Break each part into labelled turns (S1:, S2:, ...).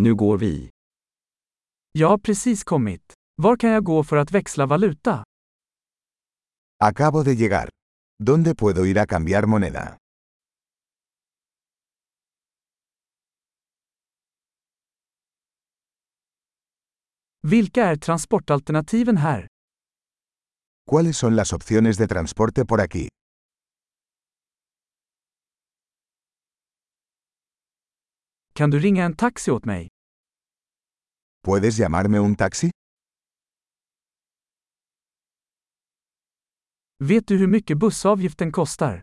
S1: Nu går vi.
S2: Jag har precis kommit. Var kan jag gå för att växla valuta?
S3: Acabo de llegar. ¿Dónde puedo ir a cambiar moneda?
S2: Vilka är transportalternativen här?
S3: ¿Cuáles son las opciones de transporte por aquí?
S2: Kan du ringa en taxi åt mig?
S3: ¿Puedes llamarme un taxi?
S2: Vet du hur mycket bussavgiften kostar?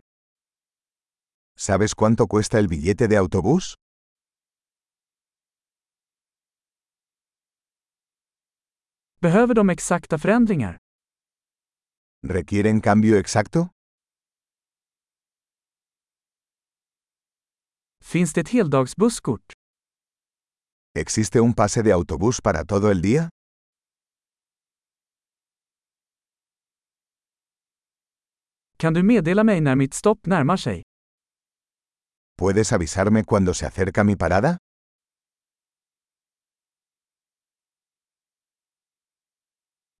S3: ¿Sabes cuánto cuesta el billete de autobús?
S2: Behöver de exakta förändringar?
S3: ¿Requieren cambio exacto?
S2: Finns det ett heldagsbusskort?
S3: ¿Existe un pase de autobús para todo el día?
S2: Kan du meddela mig när mitt stopp närmar sig?
S3: ¿Puedes avisarme cuando se acerca mi parada?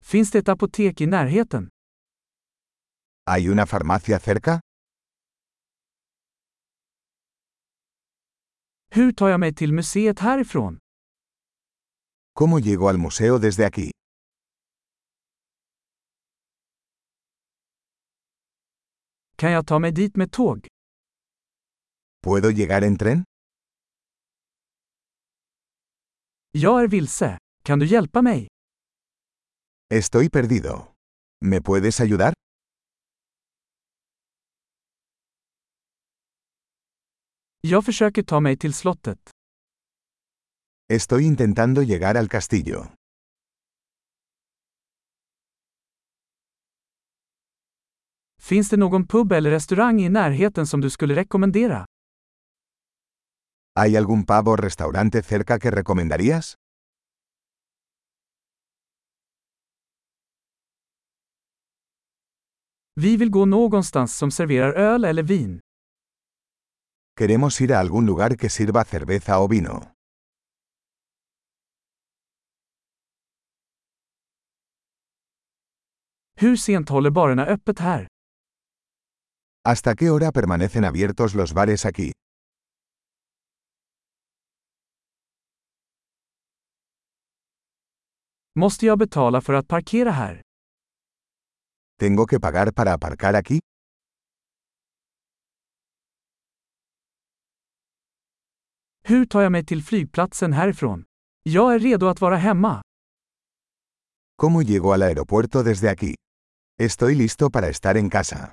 S2: Finns det ett apotek i närheten?
S3: ¿Hay una farmacia cerca?
S2: Hur tar jag mig till museet härifrån?
S3: ¿Cómo llego al museo desde aquí?
S2: Kan jag ta mig dit med tåg?
S3: ¿Puedo llegar en tren?
S2: Jag är vilse. Kan du hjälpa mig?
S3: Estoy perdido. ¿Me puedes ayudar?
S2: Jag försöker ta mig till slottet.
S3: Estoy intentando llegar al castillo.
S2: Finns det någon pub eller restaurang i närheten som du skulle rekommendera?
S3: ¿Hay algún pub o restaurante cerca que recomendarías?
S2: Vi vill gå någonstans som serverar öl eller vin.
S3: Queremos ir a algún lugar que sirva cerveza o vino.
S2: Hur sent håller barerna öppet här?
S3: ¿Hasta qué hora permanecen abiertos los bares aquí?
S2: Måste jag betala för att parkera här?
S3: ¿Tengo que pagar para aparcar aquí?
S2: Hur tar jag mig till flygplatsen härifrån? Jag är redo att vara hemma.
S3: ¿Cómo llego al aeropuerto desde aquí? Estoy listo para estar en casa.